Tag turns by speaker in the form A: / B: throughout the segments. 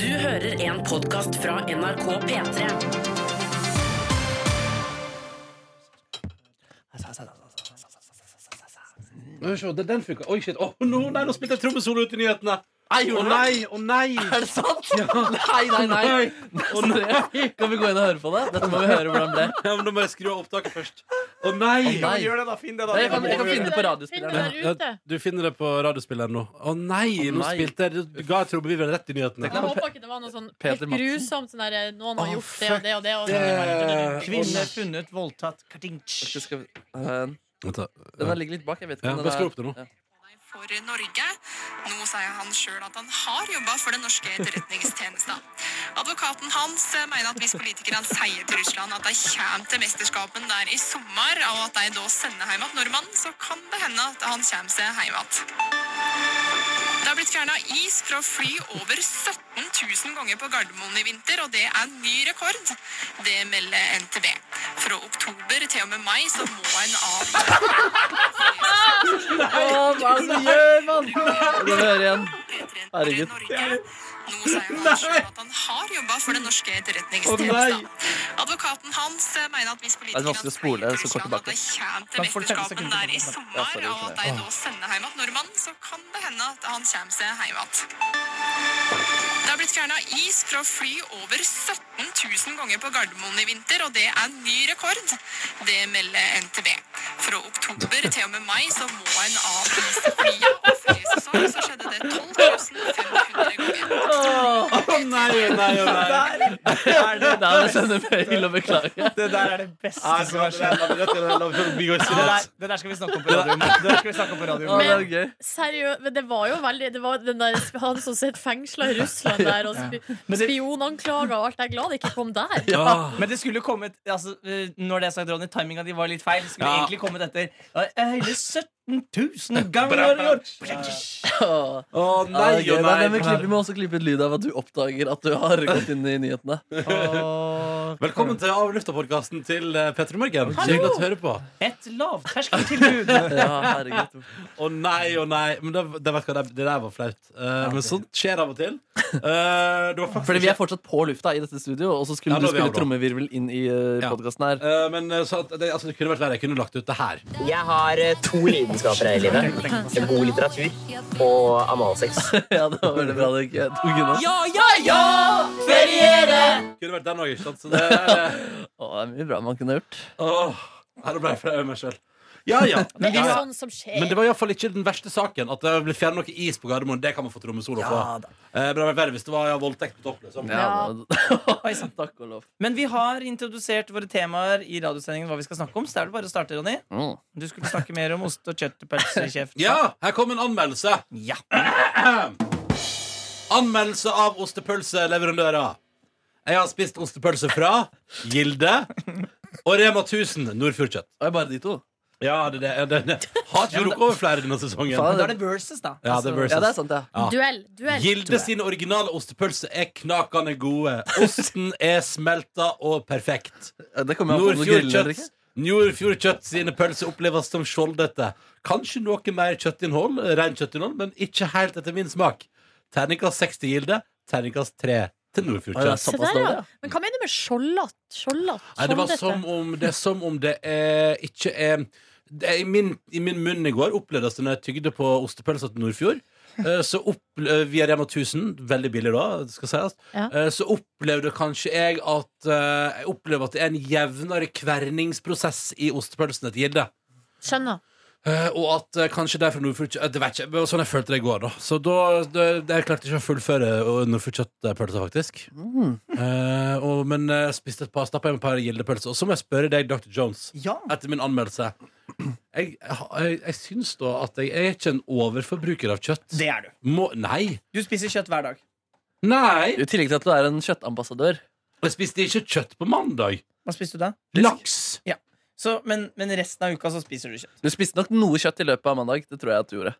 A: Du hører en podkast fra NRK P3.
B: Må vi se, den, den funka. Oi, shit. Å, nå- nei, nå spilte jeg trommesolo ut i nyhetene! Å nei, å nei!
C: Er det sant? Nei, nei, nei.
B: Å nei!
C: Kan vi gå inn og høre på det? Dette må vi høre hvordan det ble.
B: Ja, men da må jeg skru av opptaket først. Å nei!
C: Nei.
D: Gjør det, da. Finn det, da.
C: Nei, Jeg kan, jeg kan finne det på
E: Finn
C: radiospilleren.
E: det der ute.
B: Du finner det på radiospilleren nå. Å nei!
C: Å
B: Nå
C: nei.
B: spilte jeg Du ga trommeviveren rett i nyhetene.
E: Jeg håper ikke det var noe sånn helt
C: Peter Madsen.
E: grusomt sånn der Noen har
C: Å,
E: gjort det og det og det. Og
B: Eh,
D: Kvinne funnet voldtatt. Kartinch.
C: Ikke skal vi- Eh,
B: Vent, da.
C: Den her ligger litt bak. Jeg vet ikke
B: Ja,
C: om den
B: bare skru
C: er-
B: opp det nå.
C: Ja.
F: for Norge. Nå sier han sjøl at han har jobba for den norske etterretningstjenesten. Advokaten hans eh, mener at hvis politikerne sier til Russland at de kommer til mesterskapen der i sommer, og at de da sender hjem igjen nordmannen, så kan det hende at han kommer seg hjem igjen. Det har blitt fjerna is fra fly over 17 000 ganger på Gardermoen i vinter, og det er en ny rekord. Det melder NTB. Fra oktober til og med mai så må en av
C: Å, hva er det du gjør, mann? Den hører igjen. Herregud.
F: Herregud. Nå sier han selv at han har jobba for den norske etterretningstjenesten. Advokaten hans eh, mener at hvis
C: Det er vanskelig å spole,
F: politikerne
C: så kort
F: sier til
C: tilbake.
F: Russland at de
D: Kan folk
F: kommer
D: tenke
F: til
D: sekunder på
F: mesterskapen der i
D: det?
F: sommer,
C: Ja, sorry,
F: og at de da sender hjem igjen nordmannen, så kan det hende at han kommer seg hjem igjen. Det har blitt fjerna is fra fly over 17 000 ganger på Gardermoen i vinter, og det er en ny rekord. Det melder NTB. Fra oktober til og med mai så må en avise flyet, og forrige sesong så skjedde det 12 500 ganger.
B: Å nei, å nei, å nei!
C: Nei, jeg sender mail og beklager.
D: Det der er det beste som har skjedd. Det
B: Nei,
D: der, det der skal vi snakke om på radioen. Det der skal vi snakke om på radioen.
C: Å, det er gøy.
E: Seriøst, men det var jo veldig det var den der, Han som sitter fengsla i Russland der, og spi,
D: Men det-
E: spionanklager og alt. Jeg er glad det ikke kom der.
B: Ja.
D: Men det skulle kommet altså, eh, Når det er sagt, Ronny, timinga di var litt feil. Det skulle
B: Ja.
D: egentlig kommet etter ja, hele 17 000 ganger i år!
C: Å.
B: Å
C: Ja,
B: nei,
C: det er gøy.
B: å
C: Nei, men Vi klipper-
B: nei.
C: vi må også klippe ut lyd av at du oppdager at du har gått inn i nyhetene.
B: Velkommen til Av lufta-podkasten til P3 Morgen. Hyggelig at du hører på.
D: Et lavterskeltilbud.
C: Ja, herregud.
B: Å nei, å nei. Men det, det, vet du hva, det, det der var flaut. Eh, men sånt skjer av og til. Eh, det var faktisk
C: Fordi vi er fortsatt på lufta i dette studio, og så skulle
B: Ja,
C: du
B: da er vi
C: spille
B: av, da.
C: trommevirvel inn i
B: Ja.
C: podkasten her.
B: Eh, men eh, så at det, altså, det kunne vært verre. Jeg kunne lagt ut det her.
G: Jeg har eh, to lidenskaper her i livet. God litteratur og analsex.
C: Ja, det var veldig bra det ikke tok unna.
B: Kunne vært den òg, ikke sant? Så det er,
C: Å, det er mye bra man kunne gjort.
B: åh, her ble jeg flau over meg sjøl. Ja, ja.
E: Det er
B: ja.
E: sånn som skjer.
B: Men det var iallfall ikke den verste saken. At det ble fjernet noe is på Gardermoen. Det kan man få trommesolo på.
D: Ja, da.
B: Eh, men det hadde vært verre hvis det var ja, voldtekt på topp. Liksom.
E: Ja.
C: det-
D: Oi, sant.
C: Takk og lov.
D: Men vi har introdusert våre temaer i radiosendingen. Hva vi skal snakke om, Så det er det bare å starte, Ronny.
C: Mm.
D: Du skulle snakke mer om ost og kjøttpølser i kjeften.
B: Ja, her kom en anmeldelse.
D: Ja.
B: Anmeldelse av ostepølseleverandører. Jeg har spist ostepølse fra Gilde og Rema 1000 Nordfjordkjøtt.
C: Og bare de to.
B: Ja, det, det, det, det. Har ikke rukket over flere denne sesongen.
C: Faen. altså,
D: Men da er det versus, da. Altså,
B: Ja, det er versus.
C: Ja, det er sånn. sant, ja.
B: Ja.
E: Duell. duell
B: Gilde sine originale ostepølser er knakende gode. Osten er smelta og perfekt.
C: Ja, Det kommer an på om du griller eller ikke.
B: Nordfjordkjøtt Nordfjordkjøtt sine pølser oppleves som skjoldete. Kanskje noe mer kjøttinnhold, rein kjøttinnhold, men ikke helt etter min smak. Terningkast 6 til Gilde, terningkast 3 til
C: Å, ja,
B: Nordfjordkjøtt.
E: Se
C: såpass
E: der, ja.
C: dårlig, ja.
E: Men hva mener du med skjoldat? Skjoldat?
B: Nei, det var
E: Skjoldete?
B: som om det, er som om det er, ikke er det er i, min, I min munn i går opplevdes det når jeg tygde på ostepølsa til Nordfjord. eh, Så opp, eh, via Rema 1000, veldig billig da, det skal sies,
E: Ja.
B: eh, så opplevde kanskje jeg at eh, Jeg opplever at det er en jevnere kverningsprosess i ostepølsene til Gilde.
E: Skjønner.
B: Eh, og at eh, kanskje det er fra Nordfjord kjøtt- eh, Det vet ikke, men sånn jeg følte det i går, da. Så da, da jeg klarte ikke å fullføre eh, Nordfjord kjøttpølsa, faktisk. Eh, og, men eh, spiste et par, stappa i meg et par gildepølser. Og så må jeg spørre deg, Dr. Jones,
D: Ja.
B: etter min anmeldelse. Jeg, jeg, jeg syns da at jeg, jeg er ikke en overforbruker av kjøtt.
D: Det er du.
B: Må, nei!
D: Du spiser kjøtt hver dag.
B: Nei!
C: I tillegg til at du er en kjøttambassadør.
B: Jeg spiste ikke kjøtt på mandag.
D: Hva spiste du da?
B: Laks!
D: Så, men, men resten av uka så spiser du kjøtt.
C: Du spiste nok noe kjøtt i løpet av mandag. Det tror jeg at du gjorde.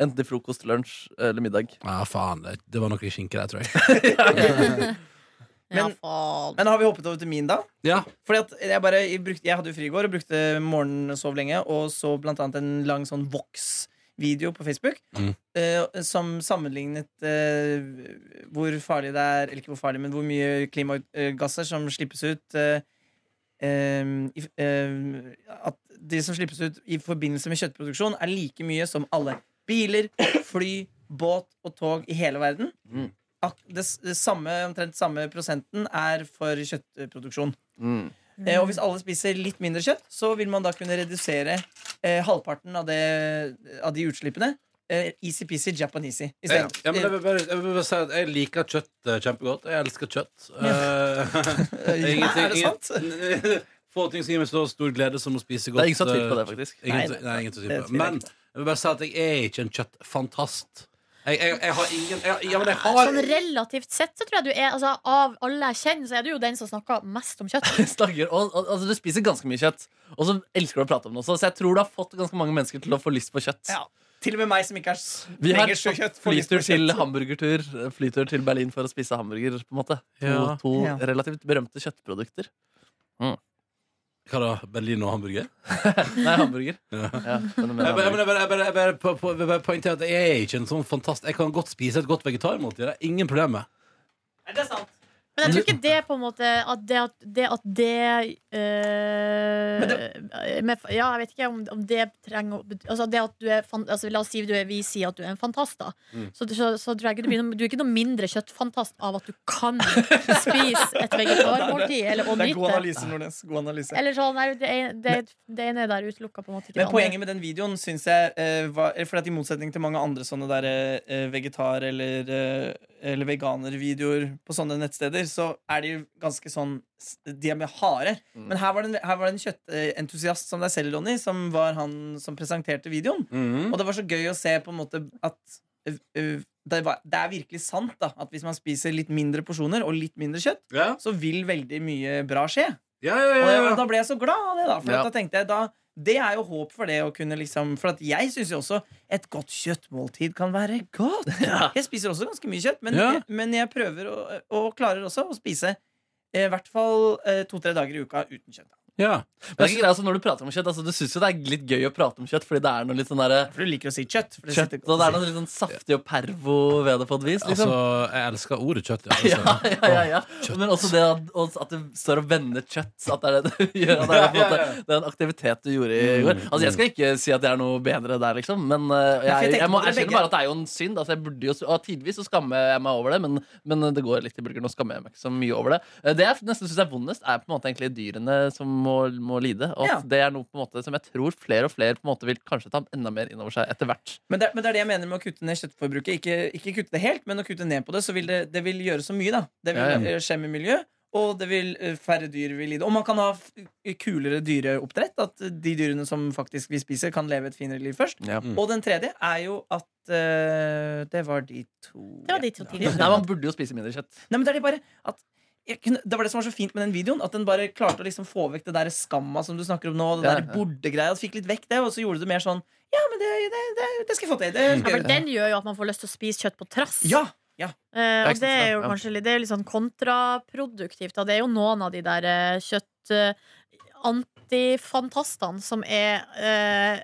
C: Enten til frokost, lunsj eller middag.
B: Ja, faen. Det, det var noe i skinke der, tror jeg.
E: Ja,
D: Men-
E: faen.
D: Men har vi hoppet over til min, da?
B: Ja.
D: Fordi at jeg, bare, jeg, brukte, jeg hadde jo fri i går og brukte morgenen og sov lenge, og så blant annet en lang sånn voks video på Facebook
B: Mm.
D: eh, som sammenlignet eh, hvor farlig det er Eller ikke hvor farlig, men hvor mye klimagasser som slippes ut eh, eh, i, eh, At de som slippes ut i forbindelse med kjøttproduksjon, er like mye som alle biler, fly, båt og tog i hele verden.
C: Mm.
D: Ak det, s- det samme, omtrent samme prosenten er for kjøttproduksjon.
C: Mm.
D: Eh, og hvis alle spiser litt mindre kjøtt, så vil man da kunne redusere eh, halvparten av, det, av de utslippene. Eh, Easy-peasy Japanese.
B: Jeg,
D: i stedet. Eh,
B: ja, men jeg, vil bare, jeg vil bare si at jeg liker kjøtt eh, kjempegodt. Jeg elsker kjøtt. Eh,
D: Eh,
B: ingenting-
D: er det sant?
B: ingen- Få ting som gir meg så stor glede som å spise godt.
C: Det er
B: eh,
C: ingen som har tvilt på det, faktisk.
B: Ingen,
D: Nei,
B: nei,
D: nei,
B: nei, ingen som
D: det
B: tviler på det.
D: tviler jeg
B: Men jeg vil bare si at jeg er ikke en kjøttfantast. Jeg, jeg, jeg har ingen jeg, Ja, men jeg
E: Sånn
B: har
E: relativt sett så tror jeg du er altså, Av alle jeg kjenner, så er du jo den som snakker mest om kjøtt.
C: Stanger, og, og, altså, du spiser ganske mye kjøtt, og så elsker du å prate om det også. Så jeg tror du har fått ganske mange mennesker til å få lyst på kjøtt.
D: Ja. Til og med meg som ikke er s-
C: Vi har
D: trenger så kjøtt. får lyst på
C: flytur til
D: kjøtt.
C: hamburgertur, flytur til Berlin for å spise hamburger. på en måte To,
B: Ja.
C: to
D: Ja.
C: relativt berømte kjøttprodukter.
B: Hva da? Berlin og hamburger?
C: Nei, hamburger.
B: Ja.
C: Ja, fenomenet
B: Jeg bare, jeg
C: hamburger.
B: bare, jeg bare, jeg bare, jeg bare, på- på- jeg bare poengterer at jeg er ikke en sånn fantast Jeg kan godt spise et godt vegetarmåltid. Det er ingen problem med.
D: Er det sant?
E: Men jeg tror ikke det på en måte At det at det, at det, eh, med, Ja, jeg vet ikke om, om det trenger å bet- Altså det at du er fan, altså, La oss si du er, vi sier at du er en fantast, da.
D: Mm.
E: Så, så, så tror jeg ikke du blir noe, Du er ikke noe mindre kjøttfantast av at du kan spise et vegetarmåltid eller å
D: Det er god
E: nyte.
D: analyse, Nordnes. God analyse.
E: Eller sånn, nei, det, er- det, det ene er der utelukka, på en måte. Ikke
D: Men
E: det andre.
D: poenget med den videoen syns jeg eh, var For at i motsetning til mange andre sånne der, eh, vegetar- eller, eh, eller veganervideoer på sånne nettsteder, så er de jo ganske sånn s- De er med harde. Men her var det en, her var det en kjøttentusiast som deg selv, Ronny, som var han som presenterte videoen.
B: Mm.
D: Og det var så gøy å se på en måte at eh, eh, det, var, det er virkelig sant da at hvis man spiser litt mindre porsjoner og litt mindre kjøtt,
B: Ja,
D: så vil veldig mye bra skje.
B: ja, ja,
D: Og
B: ja,
D: jeg,
B: ja.
D: Eh, da ble jeg så glad av det, da. For
C: Ja.
D: at da tenkte jeg da det er jo håp for det å kunne liksom For at jeg syns jo også et godt kjøttmåltid kan være godt. Jeg spiser også ganske mye kjøtt, men,
B: Ja.
D: men jeg prøver å, og klarer også å spise eh, i hvert fall eh, to-tre dager i uka uten kjøtt.
B: ja.
C: Men det er ikke greit, altså, når du prater om kjøtt, altså, du syns jo det er litt gøy å prate om kjøtt, fordi det er noe litt sånn derre
D: For du liker å si kjøtt. For det
C: Kjøtt,
D: sitter
C: og det er
D: godt å
C: noe litt sånn saftig og pervo ved det på et vis.
B: Altså,
C: Liksom.
B: jeg elsker ordet kjøtt. Ja,
C: ja,
B: altså.
C: ja, ja, ja. Men også det at, og at du står og vender kjøtt. At det er det du gjør. At det, er på en måte, det er en aktivitet du gjorde i går. Altså, Jeg skal ikke si at jeg er noe bedre der, liksom. Men eh,
D: Mm, Ja, for jeg
C: jeg,
D: tenkte
C: jeg må
D: på dere
C: erkjenne
D: begge.
C: bare at det er jo en synd. Altså, jeg burde jo, og Tidvis så skammer jeg meg over det, men, men det går litt i bulgeren. Og skammer jeg meg ikke så mye over det. Eh, Det jeg nesten syns er vondest, er på en måte egentlig dyrene som må, må lide. Og at
D: Ja.
C: det er noe på en måte som jeg tror flere og flere på en måte vil kanskje ta enda mer innover seg etter hvert.
D: si. Men det, men det er det jeg mener med å kutte ned kjøttforbruket. Ikke, ikke kutte det helt, men å kutte ned på det, så vil det, det vil gjøre så mye, da. Det vil
C: Ja, ja.
D: eh, skje med miljøet. Og det vil eh, færre dyr vil lide. Og man kan ha f- eh, kulere dyreoppdrett. At eh, de dyrene som faktisk vi spiser, kan leve et finere liv først.
C: Ja.
D: Og den tredje er jo at eh, Det var de to
E: Det var de to
D: Ja.
E: tidligere.
C: Nei, Man burde jo spise mindre kjøtt.
D: Nei, men det er det bare at jeg kunne, det var det som var så fint med den videoen. At den bare klarte å liksom få vekk det der skamma som du snakker om nå. Og det
C: Ja,
D: der
C: ja.
D: bordegreia. Fikk litt vekk det, og så gjorde du mer sånn Ja, men det, det, det, det skal jeg få til. Det
C: Mm.
E: Ja,
D: skal
E: for
D: jeg gjøre.
E: den gjør jo at man får lyst til å spise kjøtt på trass.
D: Ja!
E: Eh, og
C: Det er ikke
E: det
C: sant,
E: er jo
C: ja.
E: kanskje litt, det er litt sånn kontraproduktivt. Da. Det er jo noen av de der eh, kjøtt... Eh, Antifantastene som er eh,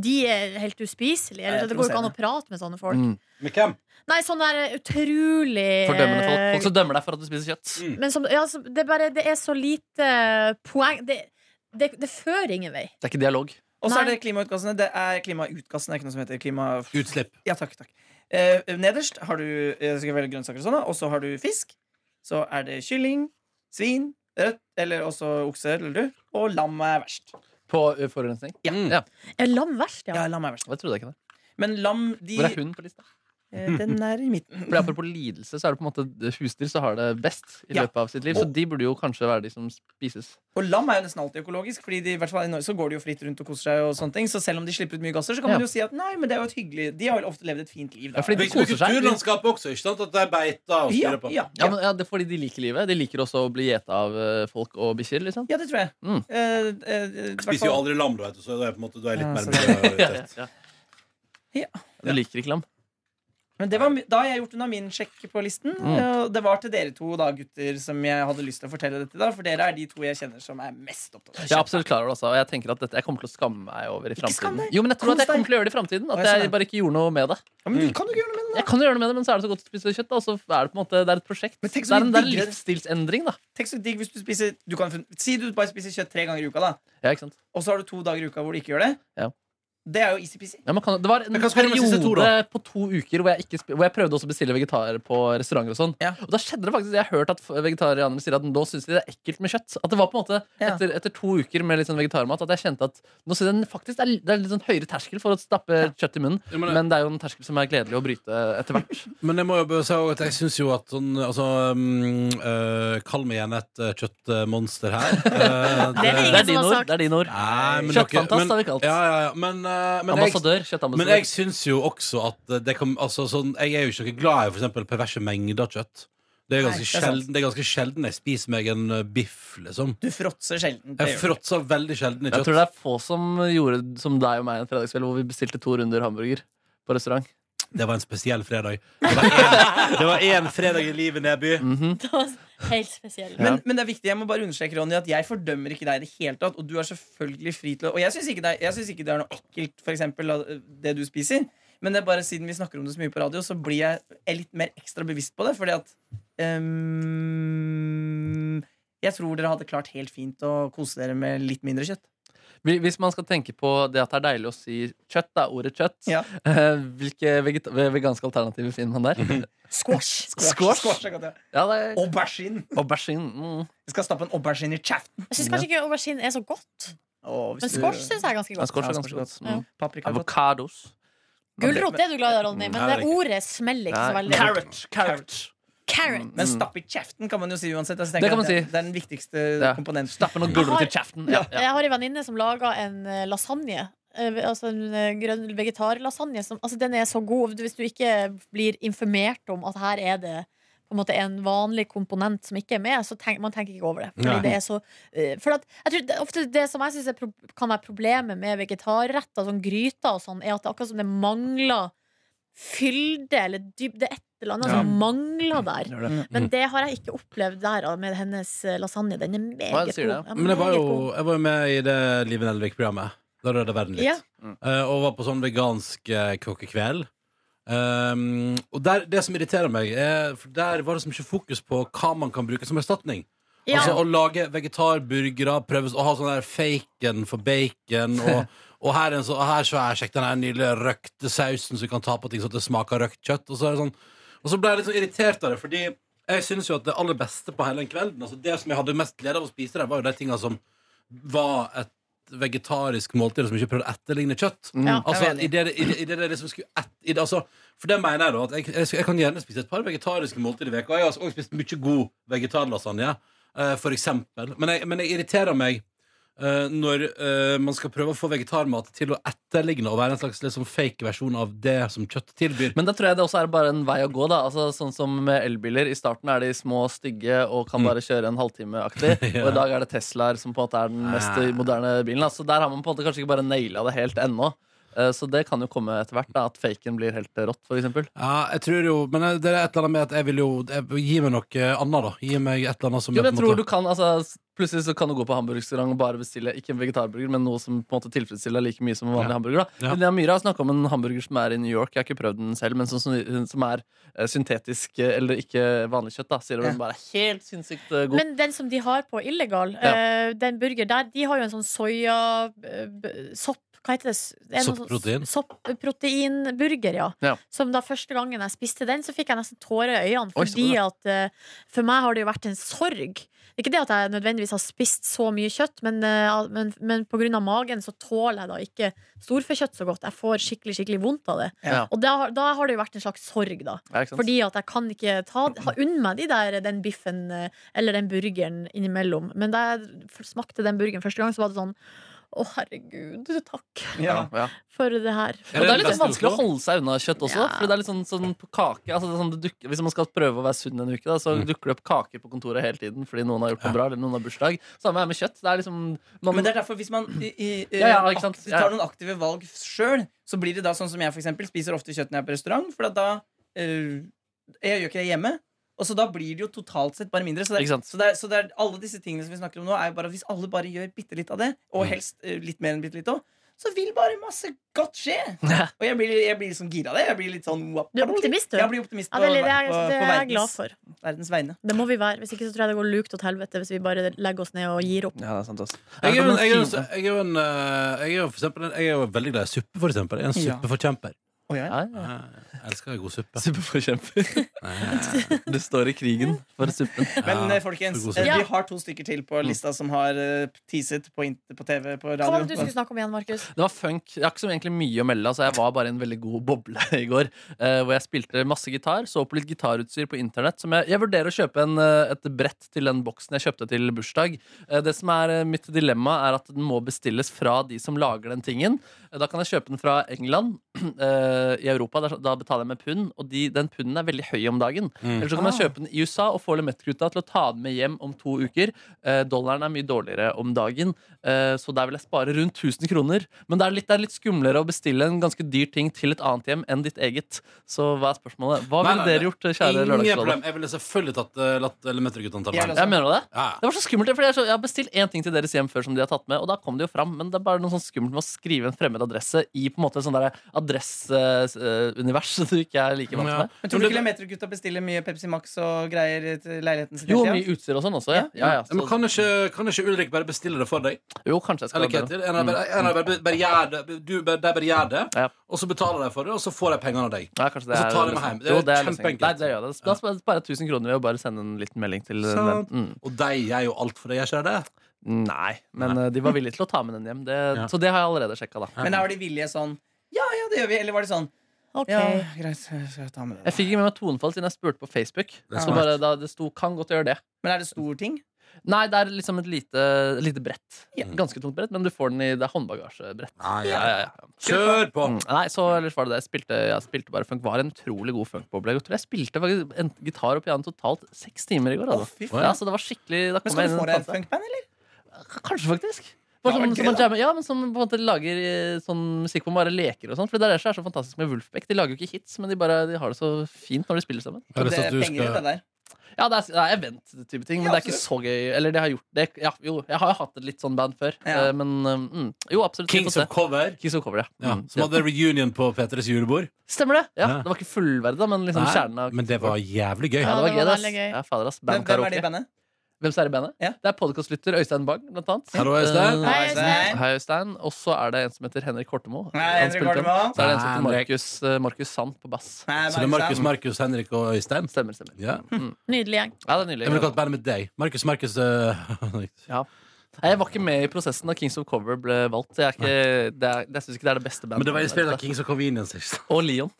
E: De er helt uspiselige.
D: Nei,
E: Eller,
D: jeg
E: det går jo ikke an
D: provoserer
E: å prate med sånne folk.
C: Mm.
B: Med hvem?
E: Nei, sånn der eh, utrolig
C: Fordømmende folk.
E: eh,
C: Folk som dømmer deg for at du spiser kjøtt.
D: Mm.
E: Men som, ja, som, det, er bare, det er så lite poeng Det, det, det fører ingen vei.
C: Det er ikke dialog.
D: Og så er
E: Nei.
D: det klimautgassene. Det er klimautgassene, det er ikke noe som heter klima...
B: Utslipp.
D: Ja, takk, takk. Eh, nederst har du eh, skal velge grønnsaker og sånn, da. og så har du fisk. Så er det kylling, svin, rødt, eller også okse, eller du. Og lam er verst.
C: På ø, forurensning?
B: Mm.
E: Er lam verst, ja?
D: Ja, lam er verst.
C: Jeg trodde ikke det.
D: Men lam, de
C: Hvor er hun på lista?
D: eh, Den er i midten.
C: Fordi Apropos lidelse, så er det på en måte husdyr som har det best i
D: Ja.
C: løpet av sitt liv. Så de burde jo kanskje være de som spises.
D: Og lam er jo nesten alltid økologisk, Fordi de, i hvert fall i Norge så går de jo fritt rundt og koser seg. og sånne ting Så selv om de slipper ut mye gasser, så kan
C: Ja.
D: man jo si at nei, men det er jo et hyggelig De har jo ofte levd et fint liv. Da.
C: Ja, fordi de
B: Vi bruker
C: koser seg.
B: kulturlandskapet også, ikke sant? At de beiter og
D: ja,
B: styrer på.
D: ja,
C: Ja,
D: ja.
C: men, ja, det er fordi de liker livet. De liker også å bli gjeta av ø, folk og bikkjer. Liksom.
D: ja, det tror jeg.
C: Mm.
D: Eh, eh, i hvert
B: Spiser jo
D: fall-
B: aldri lam, da, vet du, så da er jeg på en måte, da er jeg litt
D: Ja,
B: mer
C: Ja, ja.
B: miljøorientert.
C: Du liker ikke lam.
D: Men det var, mi- da har jeg gjort unna min sjekk på listen. Og det var til dere to da, gutter som jeg hadde lyst til å fortelle dette. da For dere er de to jeg kjenner som er mest opptatt av
C: Jeg er absolutt klar over det også, og jeg tenker at dette, jeg kommer til å skamme meg over i
D: skam
C: fremtiden.
D: deg.
C: Jo, men jeg tror at jeg
D: Kos deg.
C: kommer til å gjøre det i fremtiden.
D: Å,
C: At
D: jeg
C: jeg
D: skjønner.
C: bare ikke gjorde noe med det.
D: Ja, men du kan jo ikke gjøre noe med det
C: Jeg kan gjøre noe med det, men så er det så godt å spise kjøtt, da, og så er det på en måte det er et prosjekt.
D: Men
C: Det
D: tenk så
C: er en det er
D: mye
C: en
D: diggere-
C: livsstilsendring, da.
D: Tenk så digg hvis du spiser du kan, fun- Si du bare spiser kjøtt tre ganger i uka, da
C: Ja, ikke sant?
D: og så har du to dager i uka hvor du ikke gjør det.
C: Ja.
D: Det er jo easy-peasy.
C: Ja, man kan, det var en
B: Men hva skal du med siste
C: periode på
B: to,
C: to uker hvor jeg, ikke, spi- hvor jeg prøvde også å bestille vegetar på restauranter. Og sånn
D: Ja.
C: Og da skjedde det faktisk Jeg har hørt at vegetarianere sier at nå syns de det er ekkelt med kjøtt. At det var på en måte
D: Ja.
C: etter, etter to uker med litt sånn vegetarmat At jeg kjente at nå synes jeg den faktisk det er, det er litt sånn høyere terskel for å stappe kjøtt i munnen.
B: Ja, men det-
C: Men det er jo en terskel som er gledelig å bryte etter hvert.
B: Men jeg må jo bare si også at jeg syns jo at sånn altså, mm, øh, Kall meg gjerne et øh, kjøttmonster her. Eh,
E: Det er det
C: Det
E: ingen
C: er dine
E: som har
C: ord.
E: sagt.
C: Det er dine ord.
B: Nei, men
C: Kjøttfantast
B: dere- men-
C: har vi kalt.
B: Ja, ja, ja. Men, eh, men jeg-
C: Ambassadør.
B: Men
C: Kjøttambassadør.
B: jeg syns jo også at det kan altså, sånn, Jeg er jo ikke noe glad i for eksempel perverse mengder kjøtt. Det er,
D: Nei,
B: ganske
D: det er sant.
B: sjelden, det er ganske sjelden jeg spiser meg en eh, biff, liksom.
D: Du fråtser sjelden. Det
B: Jeg
D: gjør du.
B: fråtser veldig sjelden i
C: Jeg
B: kjøtt.
C: tror det er få som gjorde som deg og meg en fredagskveld hvor vi bestilte to runder hamburger på restaurant.
B: Det var en spesiell fredag. Det var en- Det var én fredag i livet, Neby.
E: Det var helt spesielt.
C: Ja.
D: Men, men det er viktig, jeg må bare understreke Ronny at jeg fordømmer ikke deg i det hele tatt. Og du er selvfølgelig fri til å Og jeg syns ikke, det er- jeg synes ikke det er noe ekkelt, for eksempel, av det du spiser. Men det er bare siden vi snakker om det så mye på radio, så blir jeg er litt mer ekstra bevisst på det. Fordi at ehm, Jeg tror dere hadde klart helt fint å kose dere med litt mindre kjøtt.
C: Hvi- Hvis man skal tenke på det at det er deilig å si kjøtt, da, ordet kjøtt,
D: Ja.
C: eh, hvilke vegeta- ve- veganske alternativer finner man der?
D: Squash.
C: Squash.
D: er godt, ja.
C: Ja, det er
D: Aubergine.
C: Aubergine. Mm.
D: Jeg skal stappe en aubergine i kjeften.
E: Jeg syns kanskje ikke aubergine er så godt.
D: Å, hvis
E: Men
D: du-
E: squash syns jeg er ganske
C: Ja,
E: godt.
C: squash er
D: Ja,
C: ganske
D: squash
C: godt.
E: er godt.
C: Mm.
D: Paprika. er godt.
C: Avokados.
E: Gulrot er du glad i, Ronny, men
B: Nei, det er
E: det
B: ikke.
E: ordet smeller ikke så
C: Nei.
E: veldig.
C: Carrot. Carrot.
E: Carrot.
D: Men stapp i kjeften kan man jo si uansett. Altså,
C: Mm. Det
D: tenker
C: kan
D: jeg
C: man
D: at
C: si.
D: det er den viktigste
C: Ja.
D: komponenten.
C: Stappe noe gulrot i kjeften. Ja, ja.
E: Jeg har en venninne som laga en eh, lasagne. Eh, Altså en eh, grønn vegetarlasagne. som- Altså den er så god. Hvis du ikke blir informert om at her er det på en måte en vanlig komponent som ikke er med, så tenk, man tenker ikke over det.
B: Nei.
E: Fordi det er så, eh, for at, jeg tror det, ofte det som jeg syns kan være problemet med vegetarretter, sånn gryter og sånn, er at det er akkurat som det mangler fylde eller dyp, det er et eller annet som mangler der.
C: Gjør det.
E: Men det har jeg ikke opplevd der da, med hennes eh, lasagne. Den er meget
C: Hva
E: god.
C: sier det?
E: Ja,
B: Men jeg var
E: meget
B: jo,
E: god.
B: jeg var jo med i det Liven Elvik-programmet. Da rødda verden litt.
E: Ja.
B: Eh, og var på sånn vegansk uh, kokkekveld. Um, og der, det som irriterer meg, er, for der var det som ikke fokus på hva man kan bruke som erstatning.
E: Ja.
B: Altså Å lage vegetarburgere, prøve å ha sånn der bacon for bacon. Og, og her, er en så, og her så er sjekk den her nydelige røkte sausen som du kan ta på ting sånn at det smaker røkt kjøtt. Og så, er det sånn, og så ble jeg litt sånn irritert av det, fordi jeg syns jo at det aller beste på hele den kvelden, altså det som jeg hadde mest glede av å spise der, var jo de tinga som var et vegetarisk måltid som ikke prøvde å etterligne kjøtt.
E: Ja.
B: Altså,
D: Mm. Jeg er enig.
B: i det, i det, i det, det liksom skulle et, i det, altså, For det mener jeg da at jeg, jeg, jeg kan gjerne spise et par vegetariske måltider i veka Og jeg har også spist mye god vegetarlasagne, eh, for eksempel. Men jeg, men jeg irriterer meg eh, når eh, man skal prøve å få vegetarmat til å etterligne og være en slags liksom, fake versjon av det som kjøtt tilbyr.
C: Men da tror jeg det også er bare en vei å gå. da Altså Sånn som med elbiler. I starten er de små, stygge og kan bare kjøre en halvtime aktig.
B: Mm. Ja.
C: Og i dag er det Teslaer som på en måte er den mest
B: Ah.
C: moderne bilen. Da. Så der har man på en måte kanskje ikke bare naila det helt ennå. Eh, Så det kan jo komme etter hvert, da at faken blir helt rått, for eksempel.
B: Ja, jeg tror jo Men det er et eller annet med at jeg vil jo jeg, Gi meg noe annet, da. Gi meg et eller annet som
C: Jo, men jeg
B: jeg på en måte-
C: tror du kan, altså s- Plutselig så kan du gå på hamburgerrestaurant og bare bestille ikke en vegetarburger, men noe som på en måte tilfredsstiller like mye som en vanlig
B: Ja.
C: hamburger. da
B: Ja.
C: Linnea Myhre har snakka om en hamburger som er i New York. Jeg har ikke prøvd den selv, men sånn som, som, som er eh, syntetisk eh, eller ikke vanlig kjøtt. da Sier
D: Ja.
C: hun bare er helt sinnssykt eh, god.
E: Men den som de har på Illegal,
C: Ja.
E: eh, den burger der, de har jo en sånn soya eh, b- Sopp, hva heter det? S- det er noe sånn
B: Sopprotein.
E: Soppproteinburger, ja.
C: Ja.
E: Som da første gangen jeg spiste den, så fikk jeg nesten tårer i øynene.
C: Oi,
E: Fordi at eh, for meg har det jo vært en sorg. Ikke det at jeg nødvendigvis har spist så mye kjøtt, men, eh, al- men, men pga. magen så tåler jeg da ikke storfekjøtt så godt. Jeg får skikkelig, skikkelig vondt av det.
C: Ja.
E: Og da, har- da har det jo vært en slags sorg, da.
C: Ja, ikke sant?
E: Fordi at jeg kan ikke ta ha unn meg de der, den biffen eh, eller den burgeren innimellom. Men da jeg f- smakte den burgeren første gang, så var det sånn Å, herregud, takk
C: ja. Ja.
E: for det her.
C: Og det er litt
B: beste
C: sånn vanskelig å
B: Oslo?
C: holde seg unna kjøtt også.
E: Ja.
C: Fordi det er litt sånn, sånn på kake altså det er sånn, det dukker, Hvis man skal prøve å være sunn en uke, da,
B: Mm.
C: så dukker det opp kaker på kontoret hele tiden fordi noen har gjort noe bra, eller noen har bursdag. Samme er med kjøtt. Det er liksom man,
D: Men det er derfor hvis man i, eh, i,
C: Ja, ja, ikke sant?
D: aktivt, tar noen aktive valg sjøl, så blir det da sånn som jeg for eksempel, spiser ofte kjøtt når jeg er på restaurant. For at da eh, Jeg gjør ikke det hjemme. Og så da blir det jo totalt sett bare mindre. Så, det,
C: Ikke sant?
D: så, det, er- så det er alle disse tingene som vi snakker om nå, er jo bare hvis alle bare gjør bitte litt av det, og
B: Mm.
D: helst eh, litt mer enn bitte litt òg, så vil bare masse godt skje. Og jeg blir, jeg blir liksom gira av det. Jeg blir litt sånn wap-
E: Du er optimist, du.
D: Jeg blir optimist
E: Ja,
D: på,
E: det, det,
D: ver-
E: er,
D: på,
E: det
D: på
E: er jeg glad
D: verdens,
E: for.
D: verdens vegne.
E: Det må vi være. Hvis ikke så tror jeg det går lukt til helvete hvis vi bare legger oss ned og gir opp.
C: Ja, det er sant, ass.
B: Jeg er jo en, jeg er jo
C: Ja,
B: en, jeg er jo en, eh, jeg er jo for eksempel, en- jeg er jo veldig glad i suppe, for eksempel. Jeg er en
D: Ja.
B: suppeforkjemper.
D: ja.
C: ja.
B: Jeg elsker god suppe.
C: Suppeforkjemper. Du står i krigen for suppen.
D: Men
B: Ja,
D: eh, folkens,
B: så god
D: eh,
E: suppe.
D: vi har to stykker til på lista som har eh, teaset på, int- på TV, på
E: Hva var det
D: radio.
E: du skulle snakke om igjen, Markus?
C: Det var funk. Jeg har ikke så egentlig mye å melde. Altså, jeg var bare i en veldig god boble i går. eh, hvor jeg spilte masse gitar. Så på litt gitarutstyr på internett. Som jeg, jeg vurderer å kjøpe en, eh, et brett til den boksen jeg kjøpte til bursdag. Eh, det som er eh, mitt dilemma, er at den må bestilles fra de som lager den tingen. Eh, da kan jeg kjøpe den fra England eh, i Europa. Der, da betaler jeg med pund. Og de, den punden er veldig høy om dagen.
B: Mm.
C: Eller så kan jeg kjøpe den i USA og få lemettgutta til å ta den med hjem om to uker. Eh, dollaren er mye dårligere om dagen, eh, så der vil jeg spare rundt 1000 kroner. Men det er, litt, det er litt skumlere å bestille en ganske dyr ting til et annet hjem enn ditt eget. Så hva er spørsmålet? Hva
B: Nei,
C: ville
B: nei,
C: dere gjort, kjære
B: Ingen problem.
C: Lørdagsrådet?
B: Jeg ville selvfølgelig tatt, eh, latt Elementerguttene ta
D: Jeg
B: den.
D: vil også.
C: Jeg mener du det?
B: Ja,
C: Det var så skummelt, for jeg, er så- jeg har bestilt én ting til deres hjem før som de har tatt med, og da kom det jo fram, men det er bare noe sånn skummelt med å skrive en fremmed adresse i på en måte sånn der adresseunivers som du ikke er like vant
B: Ja.
C: med.
D: Men tror du ikke Lemeter-gutta bestiller mye Pepsi Max og greier til leiligheten sin?
C: Jo,
D: hele
C: mye
D: tiden?
C: utstyr og sånn også, ja. ja, ja
B: Ja, Men
C: så,
B: kan ikke, kan ikke Ulrik bare bestille det for deg?
C: jo, kanskje jeg skal
B: Eller
C: gjøre det.
B: Ketil? En av bare, en av bare, bare gjør det, du, bare, de bare gjør det,
C: Ja.
B: og så betaler de for det, og så får de pengene av deg.
C: Ja, kanskje det
B: Og så
C: er
B: tar de
C: løsningen.
B: meg hjem. Det er
C: Jo,
B: kjempeenkelt.
C: løsningen. Nei, det gjør det. Da sparer jeg bare 1000 kroner ved å bare sende en liten melding til den.
B: Sant.
C: Mm.
B: Og de gjør jo alt for deg, gjør ikke de det?
C: Nei, men eh, de var villige til å ta med den hjem. Det,
B: Ja.
C: Så det har jeg allerede sjekka, da.
D: Men er de villige sånn Ja, ja, det gjør vi. Eller var de sånn
E: Ok.
D: Ja, greit, jeg skal ta med det.
C: Jeg fikk ikke med meg tonefall siden jeg spurte på Facebook.
B: Det er
C: Så
B: smart.
C: bare da det sto 'kan godt gjøre det'.
D: Men er det stor ting?
C: Nei, det er liksom et lite, lite brett.
D: Ja.
C: Ganske tungt brett, men du får den i det er håndbagasjebrett.
B: Nei,
C: Ja, ja, ja.
B: Kjør på!
C: Mm. Nei, så ellers var det det. Jeg spilte, jeg spilte bare funk. Var en utrolig god funkboble. Jeg tror jeg spilte faktisk en gitar og piano totalt seks timer i går.
D: Å,
C: Altså.
D: fy faen.
C: ja, så det var skikkelig da
D: Men
C: kom jeg
D: skal
C: inn
D: du
C: i
D: få
C: en
D: deg et
C: fase.
D: funkband, eller?
C: K- Kanskje faktisk. Bare
D: Det
C: sånn, som
D: hadde vært gøy,
C: man jammer, ja, men som på en måte lager eh, sånn musikk hvor man bare leker og sånn. For det er det som er så fantastisk med Wolfbeck. De lager jo ikke hits, men de, bare, de har det så fint når de spiller sammen.
B: Jeg har lyst til
D: Det er
B: sånn at du
D: penger i det
B: skal
D: der.
C: Ja, det er, det er event-type ting, men
D: Ja,
C: det er ikke så gøy. Eller det har gjort det. Ja, jo, jeg har jo hatt et litt sånn band før,
D: Ja.
C: eh, men eh, mm, Jo, absolutt. vi
B: Kings
C: får
B: of
C: se.
B: Cover,
C: Kings of Cover, ja.
B: ja,
C: Mm,
B: som
C: ja.
B: hadde reunion på P3s julebord.
C: Stemmer det? Ja,
B: Ja.
C: Det var ikke fullverdig, da, men liksom
B: Nei,
C: kjernen av
B: Men det var jævlig gøy.
C: ja, det var gøy, ass.
E: veldig gøy.
C: Ja, fader, ass.
D: Hvem,
C: Band
D: hvem er det i
C: karaoke.
D: bandet?
C: Hvem som er i bandet?
D: Ja.
C: Det er podkastlytter Øystein Bang, blant annet.
B: Hallo, Øystein.
C: Eh,
E: Hei, Øystein.
C: Hei, Øystein. Og så er det en som heter Henrik Hortemo.
D: Nei,
C: Han
D: Henrik
C: spilte-
D: Holmen.
C: Så er det en som heter
B: Nei,
C: Markus, eh, Markus Sand på bass.
D: Nei,
B: Så det er Markus, Markus, Henrik og Øystein.
C: Stemmer, stemmer.
B: Ja.
E: Nydelig gjeng.
C: Ja, det er
B: Jeg ville
C: nydelig.
B: kalt bandet mitt deg. Markus, Markus øh,
C: Ja. Nei, Jeg var ikke med i prosessen da Kings of Cover ble valgt. Jeg, er ikke, det er, jeg synes ikke det er det beste bandet.
B: Men det var inspirert av Kings of Convenience. ikke sant?
C: Og Leon.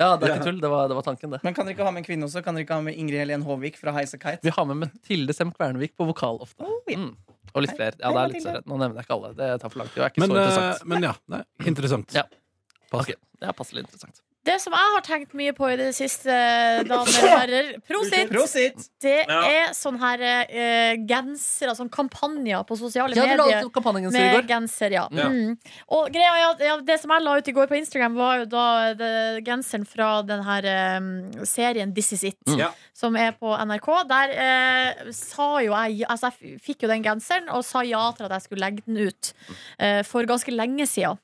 C: Ja, det er ikke tull. Det var, det var tanken, det.
D: Men kan dere ikke ha med en kvinne også? Kan dere ikke ha med Ingrid Helen Håvik fra Heis og Kite? Oh,
C: Vi har med Mathilde Sem Kvernvik på vokal ofte.
D: ja.
C: Mm. Og litt flere. Ja, det
D: Hei,
C: er litt
D: Mathilde.
C: større. Nå nevner jeg ikke alle. Det tar for lang tid. og er ikke
B: Men,
C: så
B: øh,
C: interessant.
B: men ja. Nei, interessant.
C: Ja. Ok,
B: Pass.
C: Det er passelig interessant.
E: Det som jeg har tenkt mye på i det siste, damer og herrer Prosit!
D: Prosit!
E: Det er sånne her eh, gensere, sånn kampanjer på sosiale
C: Ja, du la
E: medier.
C: ut kampanjen sin i går.
E: Med genser, ja.
B: Ja.
E: Mm. Og greia er at ja, Det som jeg la ut i går på Instagram, var jo da det- genseren fra den her eh, serien This Is It,
C: Mm.
B: Ja.
E: som er på NRK. Der eh, sa jo jeg Altså, jeg f- fikk jo den genseren og sa ja til at jeg skulle legge den ut eh, for ganske lenge siden.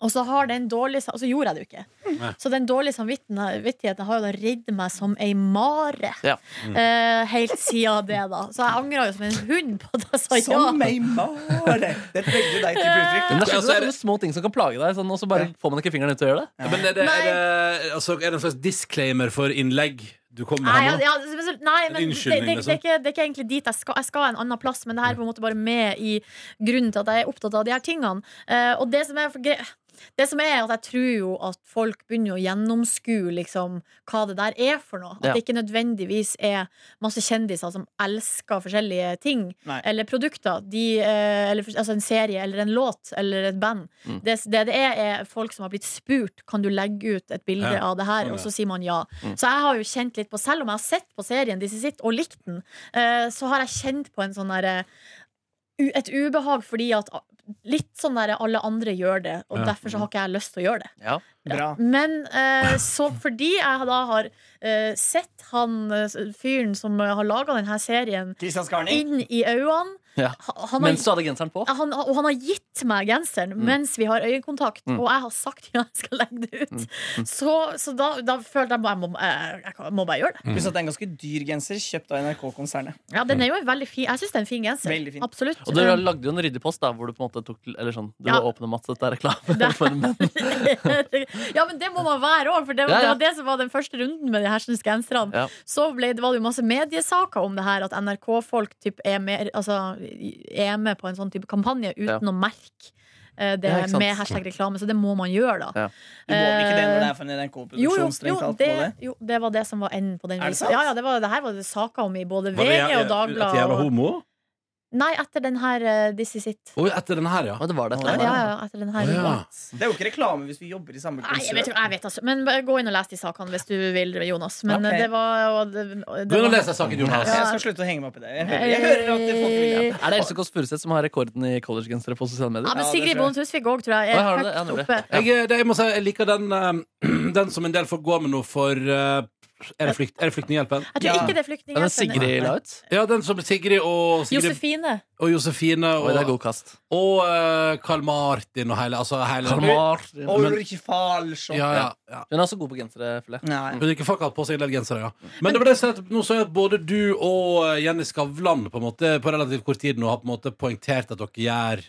E: Og så har den dårlige Og så gjorde jeg det jo ikke.
B: Nei.
E: Så den dårlige samvittigheten har jo da ridd meg som ei mare.
C: Ja.
E: Eh, helt siden det, da. Så jeg angra jo som en hund på at jeg sa ja.
D: Som ei mare! Det er et veldig deilig type uttrykk.
C: Men det er,
B: Altså,
C: det
B: er
C: er sånne små ting som kan plage deg, sånn, og så bare får man ikke fingeren ut til å gjøre det.
B: Men er det, er, det, altså, er det en slags disclaimer for innlegg du kommer
E: Nei,
B: med
E: ja,
B: her nå?
E: ja, men så- nei, men det, det,
B: Unnskyldning, liksom?
E: det, er ikke, det er ikke egentlig dit jeg skal. Jeg skal en annen plass, men det her er på en måte bare med i grunnen til at jeg er opptatt av de her tingene. Eh, og det som er for gre- det som er at Jeg tror jo at folk begynner å gjennomskue liksom, hva det der er for noe. At
C: Ja.
E: det ikke nødvendigvis er masse kjendiser som elsker forskjellige ting
D: Nei.
E: eller produkter. De, eh, eller, for- altså en serie eller en låt eller et band.
C: Mm.
E: Det, det det er, er folk som har blitt spurt Kan du legge ut et bilde
B: Ja,
E: av det her,
B: sånn,
E: og
B: ja.
E: så sier man ja.
C: Mm.
E: Så jeg har jo kjent litt på, selv om jeg har sett på serien This Is It og likt den, eh, så har jeg kjent på en sånn derre u- et ubehag fordi at litt sånn der alle andre gjør det, og
B: Ja.
E: derfor så har ikke jeg lyst til å gjøre det.
C: Ja.
D: Bra.
E: Men eh, så fordi jeg da har eh, sett han eh, fyren som har laga denne serien,
D: Kristian Skarning.
E: inn i øynene
C: Ja.
E: ha- han Altså, har-
C: Mens du hadde genseren på.
E: han, og han har gitt meg genseren mens vi har øyekontakt,
C: Mm.
E: og jeg har sagt ja, jeg skal legge det ut. Så, så da, da følte jeg bare jeg må, jeg, jeg kan- må bare gjøre det.
D: Pluss at det er en ganske dyr genser kjøpt av NRK-konsernet.
E: Ja, den er jo en veldig fin Jeg syns det er en fin genser.
D: Veldig fin.
E: Absolutt.
C: Og dere lagde jo en ryddig post da, hvor du på en måte tok Eller sånn, du
E: Ja.
C: var åpen om at dette er reklame for menn.
E: ja, men det må man være òg, for det,
C: Ja, ja.
E: det var det som var den første runden med de hersens genserne.
C: Ja.
E: Så ble, det var det jo masse mediesaker om det her, at NRK-folk typ er, mer, altså, er med på en sånn type kampanje uten
C: Ja.
E: å merke eh, det
C: Ja, ikke sant.
E: med hashtag reklame, så det må man gjøre, da.
C: Ja.
D: Du må vel ikke det når det
E: Eh,
D: er for en
E: jo, jo,
D: NRK-produksjon?
E: jo,
D: strengt talt,
E: det,
D: må det?
E: jo, det var det som var enden på den
D: Er det
E: visa.
D: sant?
E: Ja, ja, det, var, det her var det saker om i både
B: Var det
E: VG
B: jeg-
E: og
B: At jeg
E: Dagbladet.
B: var
E: og-
B: homo?
E: Nei, etter den her eh, This Is It.
B: Oi, etter den her, ja.
C: Og det var det.
E: Ja, ja, ja, etter den her.
B: Å, ja.
D: Det er jo ikke reklame hvis vi jobber i samme
E: Nei, jeg vet,
D: konsern.
E: ikke, jeg vet altså. Men bare gå inn og les de sakene hvis du vil, Jonas. Men
D: Ok.
E: eh, det var og det, og
B: Gå inn og
E: det var-
B: les deg saken, Jonas.
D: Jeg
E: Ja.
D: skal slutte å henge meg opp i det. Jeg hører, jeg hører at det folk vil.
E: Eh,
C: Er det Else Kåss Furuseth som har rekorden i collegegensere på sosiale
E: Ja,
C: medier?
E: men
D: Ja, det
E: Sigrid
D: tror jeg.
E: Bonde Tusvik òg, tror
C: Oi,
E: jeg. Er
C: har du det? Ja,
E: høyt
C: nemlig.
E: oppe.
B: Jeg, eh, det, jeg må si, jeg liker den, eh, den som en del får gå med nå for eh, Er det, flykt, er det Flyktninghjelpen?
E: Jeg tror
D: Ja.
E: ikke det er
C: Er det
E: Flyktninghjelpen.
C: Sigrid la ut?
B: Ja, den som Sigrid og, Sigrid,
E: Josefine.
B: og Josefine
C: Oi, det er
B: og,
C: god kast.
B: og eh, Karl Martin og hele, altså, hele
C: Karl Martin.
D: Og Ulrikke Falsson.
B: Ja, ja, ja.
C: Hun er også god på gensere, føler jeg.
D: Nei.
B: Hun ikke folk har hatt på seg en del gensere, ja. Men det var det jeg sa, at nå så jeg at både du og eh, Jenny Skavlan på, en måte, på relativt kort tid nå har på en måte poengtert at dere gjør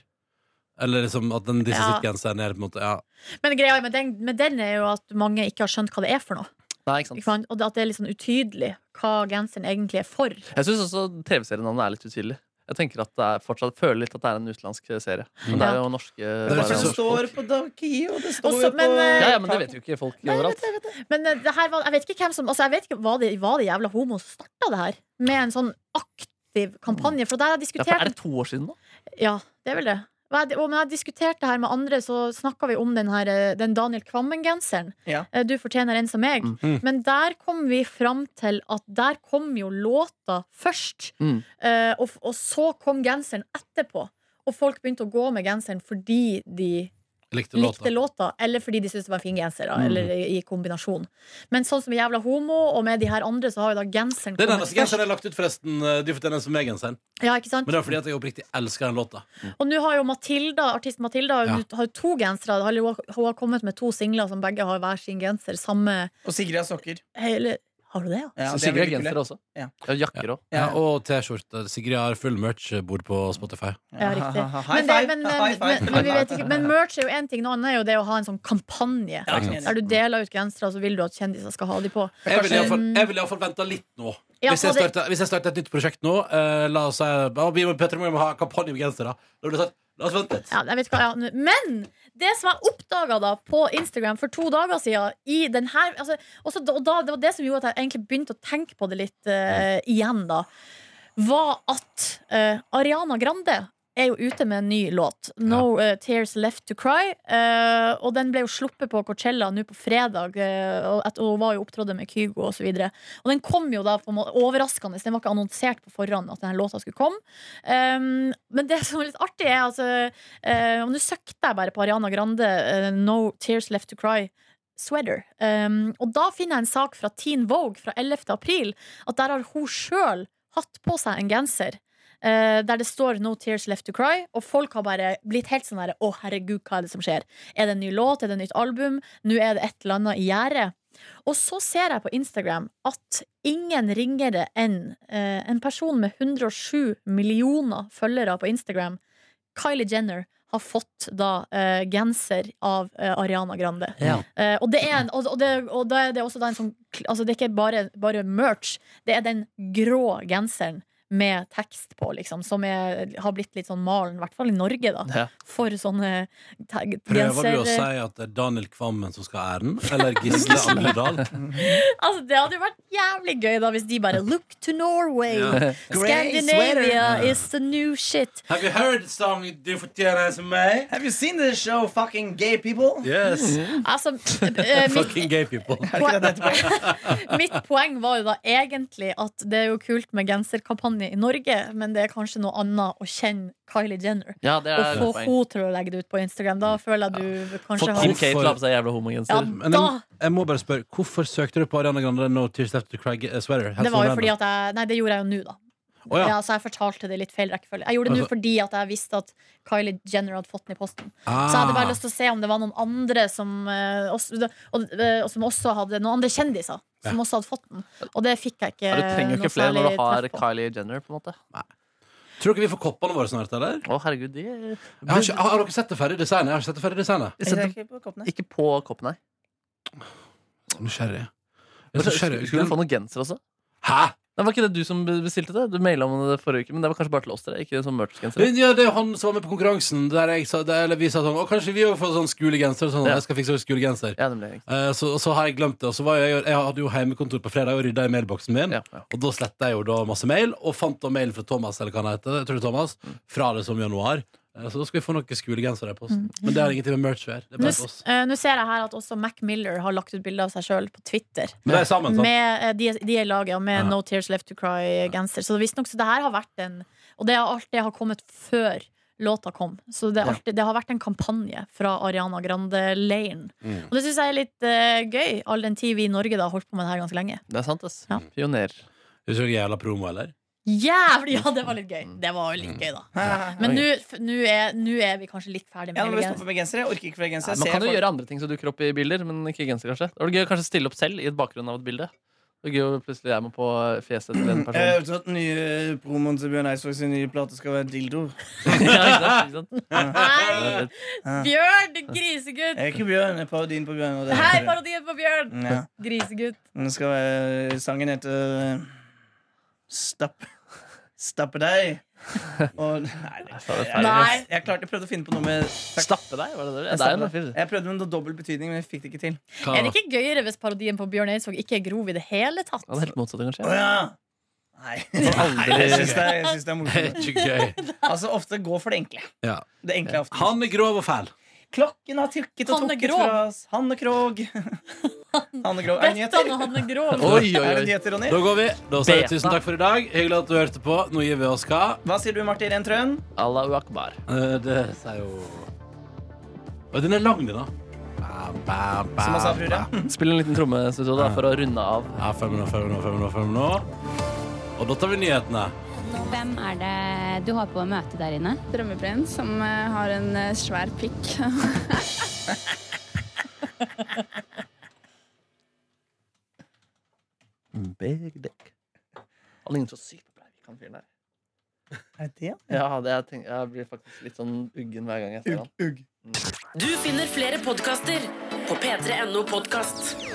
B: Eller liksom at den disse
E: Ja.
B: sitt genseren er på en måte ja.
E: Men greia med den, med den er jo at mange ikke har skjønt hva det er for noe.
C: Nei, ikke
E: Ikke
C: sant?
E: sant? Og det- at det er litt sånn utydelig hva genseren egentlig er for.
C: Jeg syns også TV-serienavnet er litt utydelig. Jeg tenker at det er fortsatt føler litt at det er en utenlandsk serie. Men det er jo norske
B: er
C: bare
B: ikke
D: Det
B: så-
C: norske
D: står
C: folk.
D: på Donkey, og det står
E: Også-
D: jo på
E: men, eh,
C: Ja, ja, men det vet jo ikke folk overalt.
E: Men eh, det her var, jeg vet ikke hvem som altså, jeg vet ikke, Var det, var det jævla homo som starta det her? Med en sånn aktiv kampanje? For da jeg
C: Ja, for er
E: diskuterte
C: det to år siden nå?
E: Ja, det er vel det. Hva er det- Og når jeg diskuterte det her med andre, så snakka vi om den, her, eh, den Daniel Kvammen-genseren.
D: Ja.
E: Eh, Du fortjener en som meg.
B: Mhm.
E: Men der kom vi fram til at der kom jo låta først.
C: Mm.
E: eh, Og, f- og så kom genseren etterpå. Og folk begynte å gå med genseren fordi de
B: Likte
E: likte
B: låta.
E: låta, eller fordi de syntes det var en fin genser. Da,
C: Mhm.
E: Eller i i kombinasjon. Men sånn som Jævla homo, og med de her andre, så har jo da genseren
B: Det er den
E: kommet
B: eneste genseren
E: først.
B: jeg har lagt ut, forresten. eh, Du fortjener en som meg-genseren.
E: Ja, ikke sant?
B: Men det er fordi at jeg oppriktig elsker den låta.
E: Og nå har jo Matilda, artist Matilda
B: Ja.
E: hun har jo to gensere. Hun har- Hun har kommet med to singler som begge har hver sin genser. Samme
D: Og Sigrid har sokker.
E: hele Har du det, ja?
D: Ja,
C: Så
D: det er
C: Sigrid har
D: veldig kule.
C: genser også.
D: Ja.
C: Ja, jakker òg.
B: Ja, og T-skjorte. Sigrid har full merch-bord på Spotify.
E: Ja, riktig.
D: High
E: Men,
D: five,
E: det, men, eh,
D: high
E: men,
D: five.
E: men, men, vi vet ikke, men merch er jo én ting, noe annet er jo det å ha en sånn kampanje.
D: Ja, ikke sant.
E: Der du deler ut gensere, og så vil du at kjendiser skal ha de på.
B: Jeg ville iallfall vil i hvert fall vente litt nå.
E: Ja,
B: Hvis jeg
E: ta det-
B: starter, hvis jeg starter et nytt prosjekt nå, eh, la oss si uh, vi må, Petter, vi må ha kampanje med gensere. Da blir det sagt La oss vente litt.
E: Ja, jeg vet hva, ja. nå- Men det som jeg oppdaga da på Instagram for to dager siden i den her, altså, også, da- og da, Det var det som gjorde at jeg egentlig begynte å tenke på det litt eh, igjen, da. Var at eh, Ariana Grande er jo ute med en ny låt. 'No eh, Tears Left To Cry'. eh, og den ble jo sluppet på Coachella nå på fredag. eh, og, at, og hun var jo opptrådde med Kygo osv. Og, så videre. og den kom jo da på en måte overraskende. Den var ikke annonsert på forhånd at denne låta skulle komme. Um, men det som er litt artig, er altså eh, Om du søkte jeg bare på Ariana Grande, eh, 'No Tears Left To Cry'. Sweater. Um, og da finner jeg en sak fra Teen Vogue fra 11. april. At der har hun sjøl hatt på seg en genser eh, der det står 'No Tears Left To Cry'. Og folk har bare blitt helt sånn der 'Å, herregud, hva er det som skjer?' Er det en ny låt? Er det et nytt album? Nå er det et eller annet i gjære. Og så ser jeg på Instagram at ingen ringere enn eh, en person med 107 millioner følgere på Instagram, Kylie Jenner, har fått da eh, genser av eh, Ariana Grande.
C: Ja.
E: Eh, og det er, en, og, og det, og da er det også da en sånn kl- Altså, det er ikke bare, bare merch, det er den grå genseren. Med tekst på, liksom, som er, har blitt litt sånn malen, i hvert fall i Norge, da.
C: Ja.
E: For sånne te-
B: Prøver du å
E: genser...
B: si at det er Daniel Kvammen som skal ha æren? Eller Gisle Andedal?
E: Altså, det hadde jo vært jævlig gøy da hvis de bare Look to Norway!
B: Ja.
E: Scandinavia is the new shit.
B: Have you heard song du fortjener som meg?
D: Have you seen the show Fucking Gay People?
B: Yes.
E: Altså, eh, mitt,
B: Fucking gay people.
E: poeng, mitt poeng var jo da egentlig at det er jo kult med genserkampanje orgasme i Norge, men det er kanskje noe annet å kjenne Kylie Jenner.
C: Ja, det
E: Og
C: er
E: få
C: et poeng.
E: henne til å legge det ut på Instagram. Da føler jeg du
C: Få
E: kanskje
C: Kim
E: har
B: hvorfor-
C: Kate la på seg jævla
E: ja,
C: homogenser.
B: Men
E: da,
B: jeg, jeg må bare spørre, hvorfor søkte du på Ariana Grande No Tears Left to Cry eh, Sweater?
E: Det var jo fordi at jeg Nei, det gjorde jeg jo nå, da.
B: Å ja.
E: Ja, så jeg fortalte det i litt feil rekkefølge. Jeg gjorde det nå
B: Altså-
E: fordi at jeg visste at Kylie Jenner hadde fått den i posten.
B: Ah.
E: Så jeg hadde bare lyst til å se om det var noen andre som, eh, også, og, eh, og som også hadde noen andre kjendiser. Som også hadde fått den. Og det fikk jeg ikke.
C: Ja, du trenger jo
E: eh, noe
C: ikke flere når du
E: særlig
C: har
E: treff på.
C: Kylie Jenner. på en måte
B: Tror dere vi får koppene våre snart, eller?
C: Å herregud, de
B: Jeg har, ikke, har, har dere sett det ferdige designet? Jeg har ikke sett det ferdige designet.
C: Jeg setter
D: ikke på koppene.
C: Ikke på koppen, nei.
B: Så Nysgjerrig. Jeg er så
C: Altså, Skulle
B: nysgjerrig.
C: skulle du få noen genser også?
B: Hæ?
C: Nei, var ikke det du som bestilte det? Du maila om det forrige uke, men det var kanskje bare til oss dere. Ikke sånn merch-genser.
B: Ja, det er jo han som var med på konkurransen. Der jeg sa, der, eller vi sa sånn Å, kanskje vi òg får sånn skolegenser. og Sånn,
C: Ja.
B: Jeg skal fikse skolegenser.
C: Ja, nemlig.
B: Eh, så, og så har jeg glemt det. Og så var jeg, jeg hadde jo heimekontor på fredag og rydda i mailboksen min.
C: Ja, ja.
B: Og da sletta jeg jo da masse mail, og fant da mail fra Thomas, eller hva han heter, jeg tror det er Thomas, fra det som januar. Eh, Så da skal vi få noen skolegensere i
E: Mm.
B: posten. Men det har ingenting med merch å gjøre. Det er
E: Nå
B: bare til
E: s-
B: oss.
E: eh, nå ser jeg her at også Mac Miller har lagt ut bilde av seg sjøl på Twitter.
B: Men det er sammen, sant?
E: Med, eh, de, de er i lag, ja, med
B: Ja.
E: No Tears Left to Cry-genser. Så visstnok så det her har vært en Og det, har- alt det har kommet før låta kom. Så det, er alltid, det har vært en kampanje fra Ariana Grande-leiren.
C: Mm.
E: Og det syns jeg er litt eh, gøy, all den tid vi i Norge da har holdt på med det her ganske lenge.
C: Det er sant, ass.
E: Ja.
C: Pioner.
B: Husker du ikke jævla promo, eller?
E: Jævlig! Ja, det var litt gøy. Det var jo litt gøy, da. Men nå f- nå er, nå er vi kanskje litt ferdig med
D: Ja, nå
E: hele
D: må vi
E: greia.
D: stoppe med gensere. Jeg orker ikke flere
C: Nei,
D: gensere.
C: man
D: Jeg
C: kan
D: ser
C: jo
D: folk-
C: gjøre andre ting som dukker opp i bilder, men ikke genser, kanskje. Det var gøy å kanskje stille opp selv i et bakgrunn av et bilde. Det er gøy å plutselig er med på fjeset til en
D: Jeg Eh, har
C: person.
D: hørt at den nye promoen til Bjørn Eidsvåg sin nye plate skal være dildoer.
C: ja, ikke sant, ikke sant?
E: Nei! Bjørn, du grisegutt!
D: Jeg er ikke Bjørn, jeg er parodien på Bjørn. og det er-
E: Hei, parodien på Bjørn!
D: Ja.
E: Grisegutt.
D: Den skal være Sangen heter eh, Stapp Stappe deg. Og Nei, det-
C: Så er det ferdig.
E: Nei.
D: jeg, jeg klarte jeg prøvde å finne på noe med
C: Eh, Stappe deg, var det det?
D: Jeg,
C: det er jo noe fint.
D: jeg prøvde med noe dobbel betydning, men jeg fikk det ikke til.
B: Hva?
E: Er det ikke gøyere hvis parodien på Bjørn Eidsvåg ikke er grov i det hele tatt?
C: Ja, det er helt motsatt,
D: Å
C: kanskje.
D: ja! Nei. Jeg syns
C: Aldri
D: det, er- jeg synes det er
B: Det er
D: morsomt.
B: ikke gøy.
D: Altså, ofte gå for det enkle.
B: Ja.
D: Det enkle er ofte
B: Han er grov og fæl.
D: Klokken har trukket og
E: Hanne
D: trukket
E: Krogh.
D: fra oss. Hanne Krogh. Hanne Krogh. Er det
E: Bettan
D: nyheter?
E: og Hanne Grov.
C: Oi, oi,
D: Er det
C: oi.
D: nyheter, Ronny?
B: Da går vi. Da sier jeg
C: Beta.
B: tusen takk for i dag. Hyggelig at du hørte på. Nå gir vi oss hva?
D: Hva sier du, Martin Rentrøen?
C: Allahu akbar.
B: Eh, Det sier jo Å, Den er lang, den, da. Bam, bam, bam,
D: Som
C: Ah,
D: han sa, brura.
C: Spill en liten tromme synes du, da, for å runde av.
B: Ja, fem minutter, fem minutter, fem minutter, fem minutter. Og da tar vi nyhetene.
H: Hvem er det du har på å møte der inne?
I: Drømmeprins som eh, har en eh, svær pikk.
C: Big dick. Han ligner så sykt på Breivik, han fyren der.
D: Er det det?
C: Ja, det, jeg, tenker, jeg blir faktisk litt sånn uggen hver gang jeg ser han.
D: Ugg.
A: Du finner flere podkaster på p3.no podkast.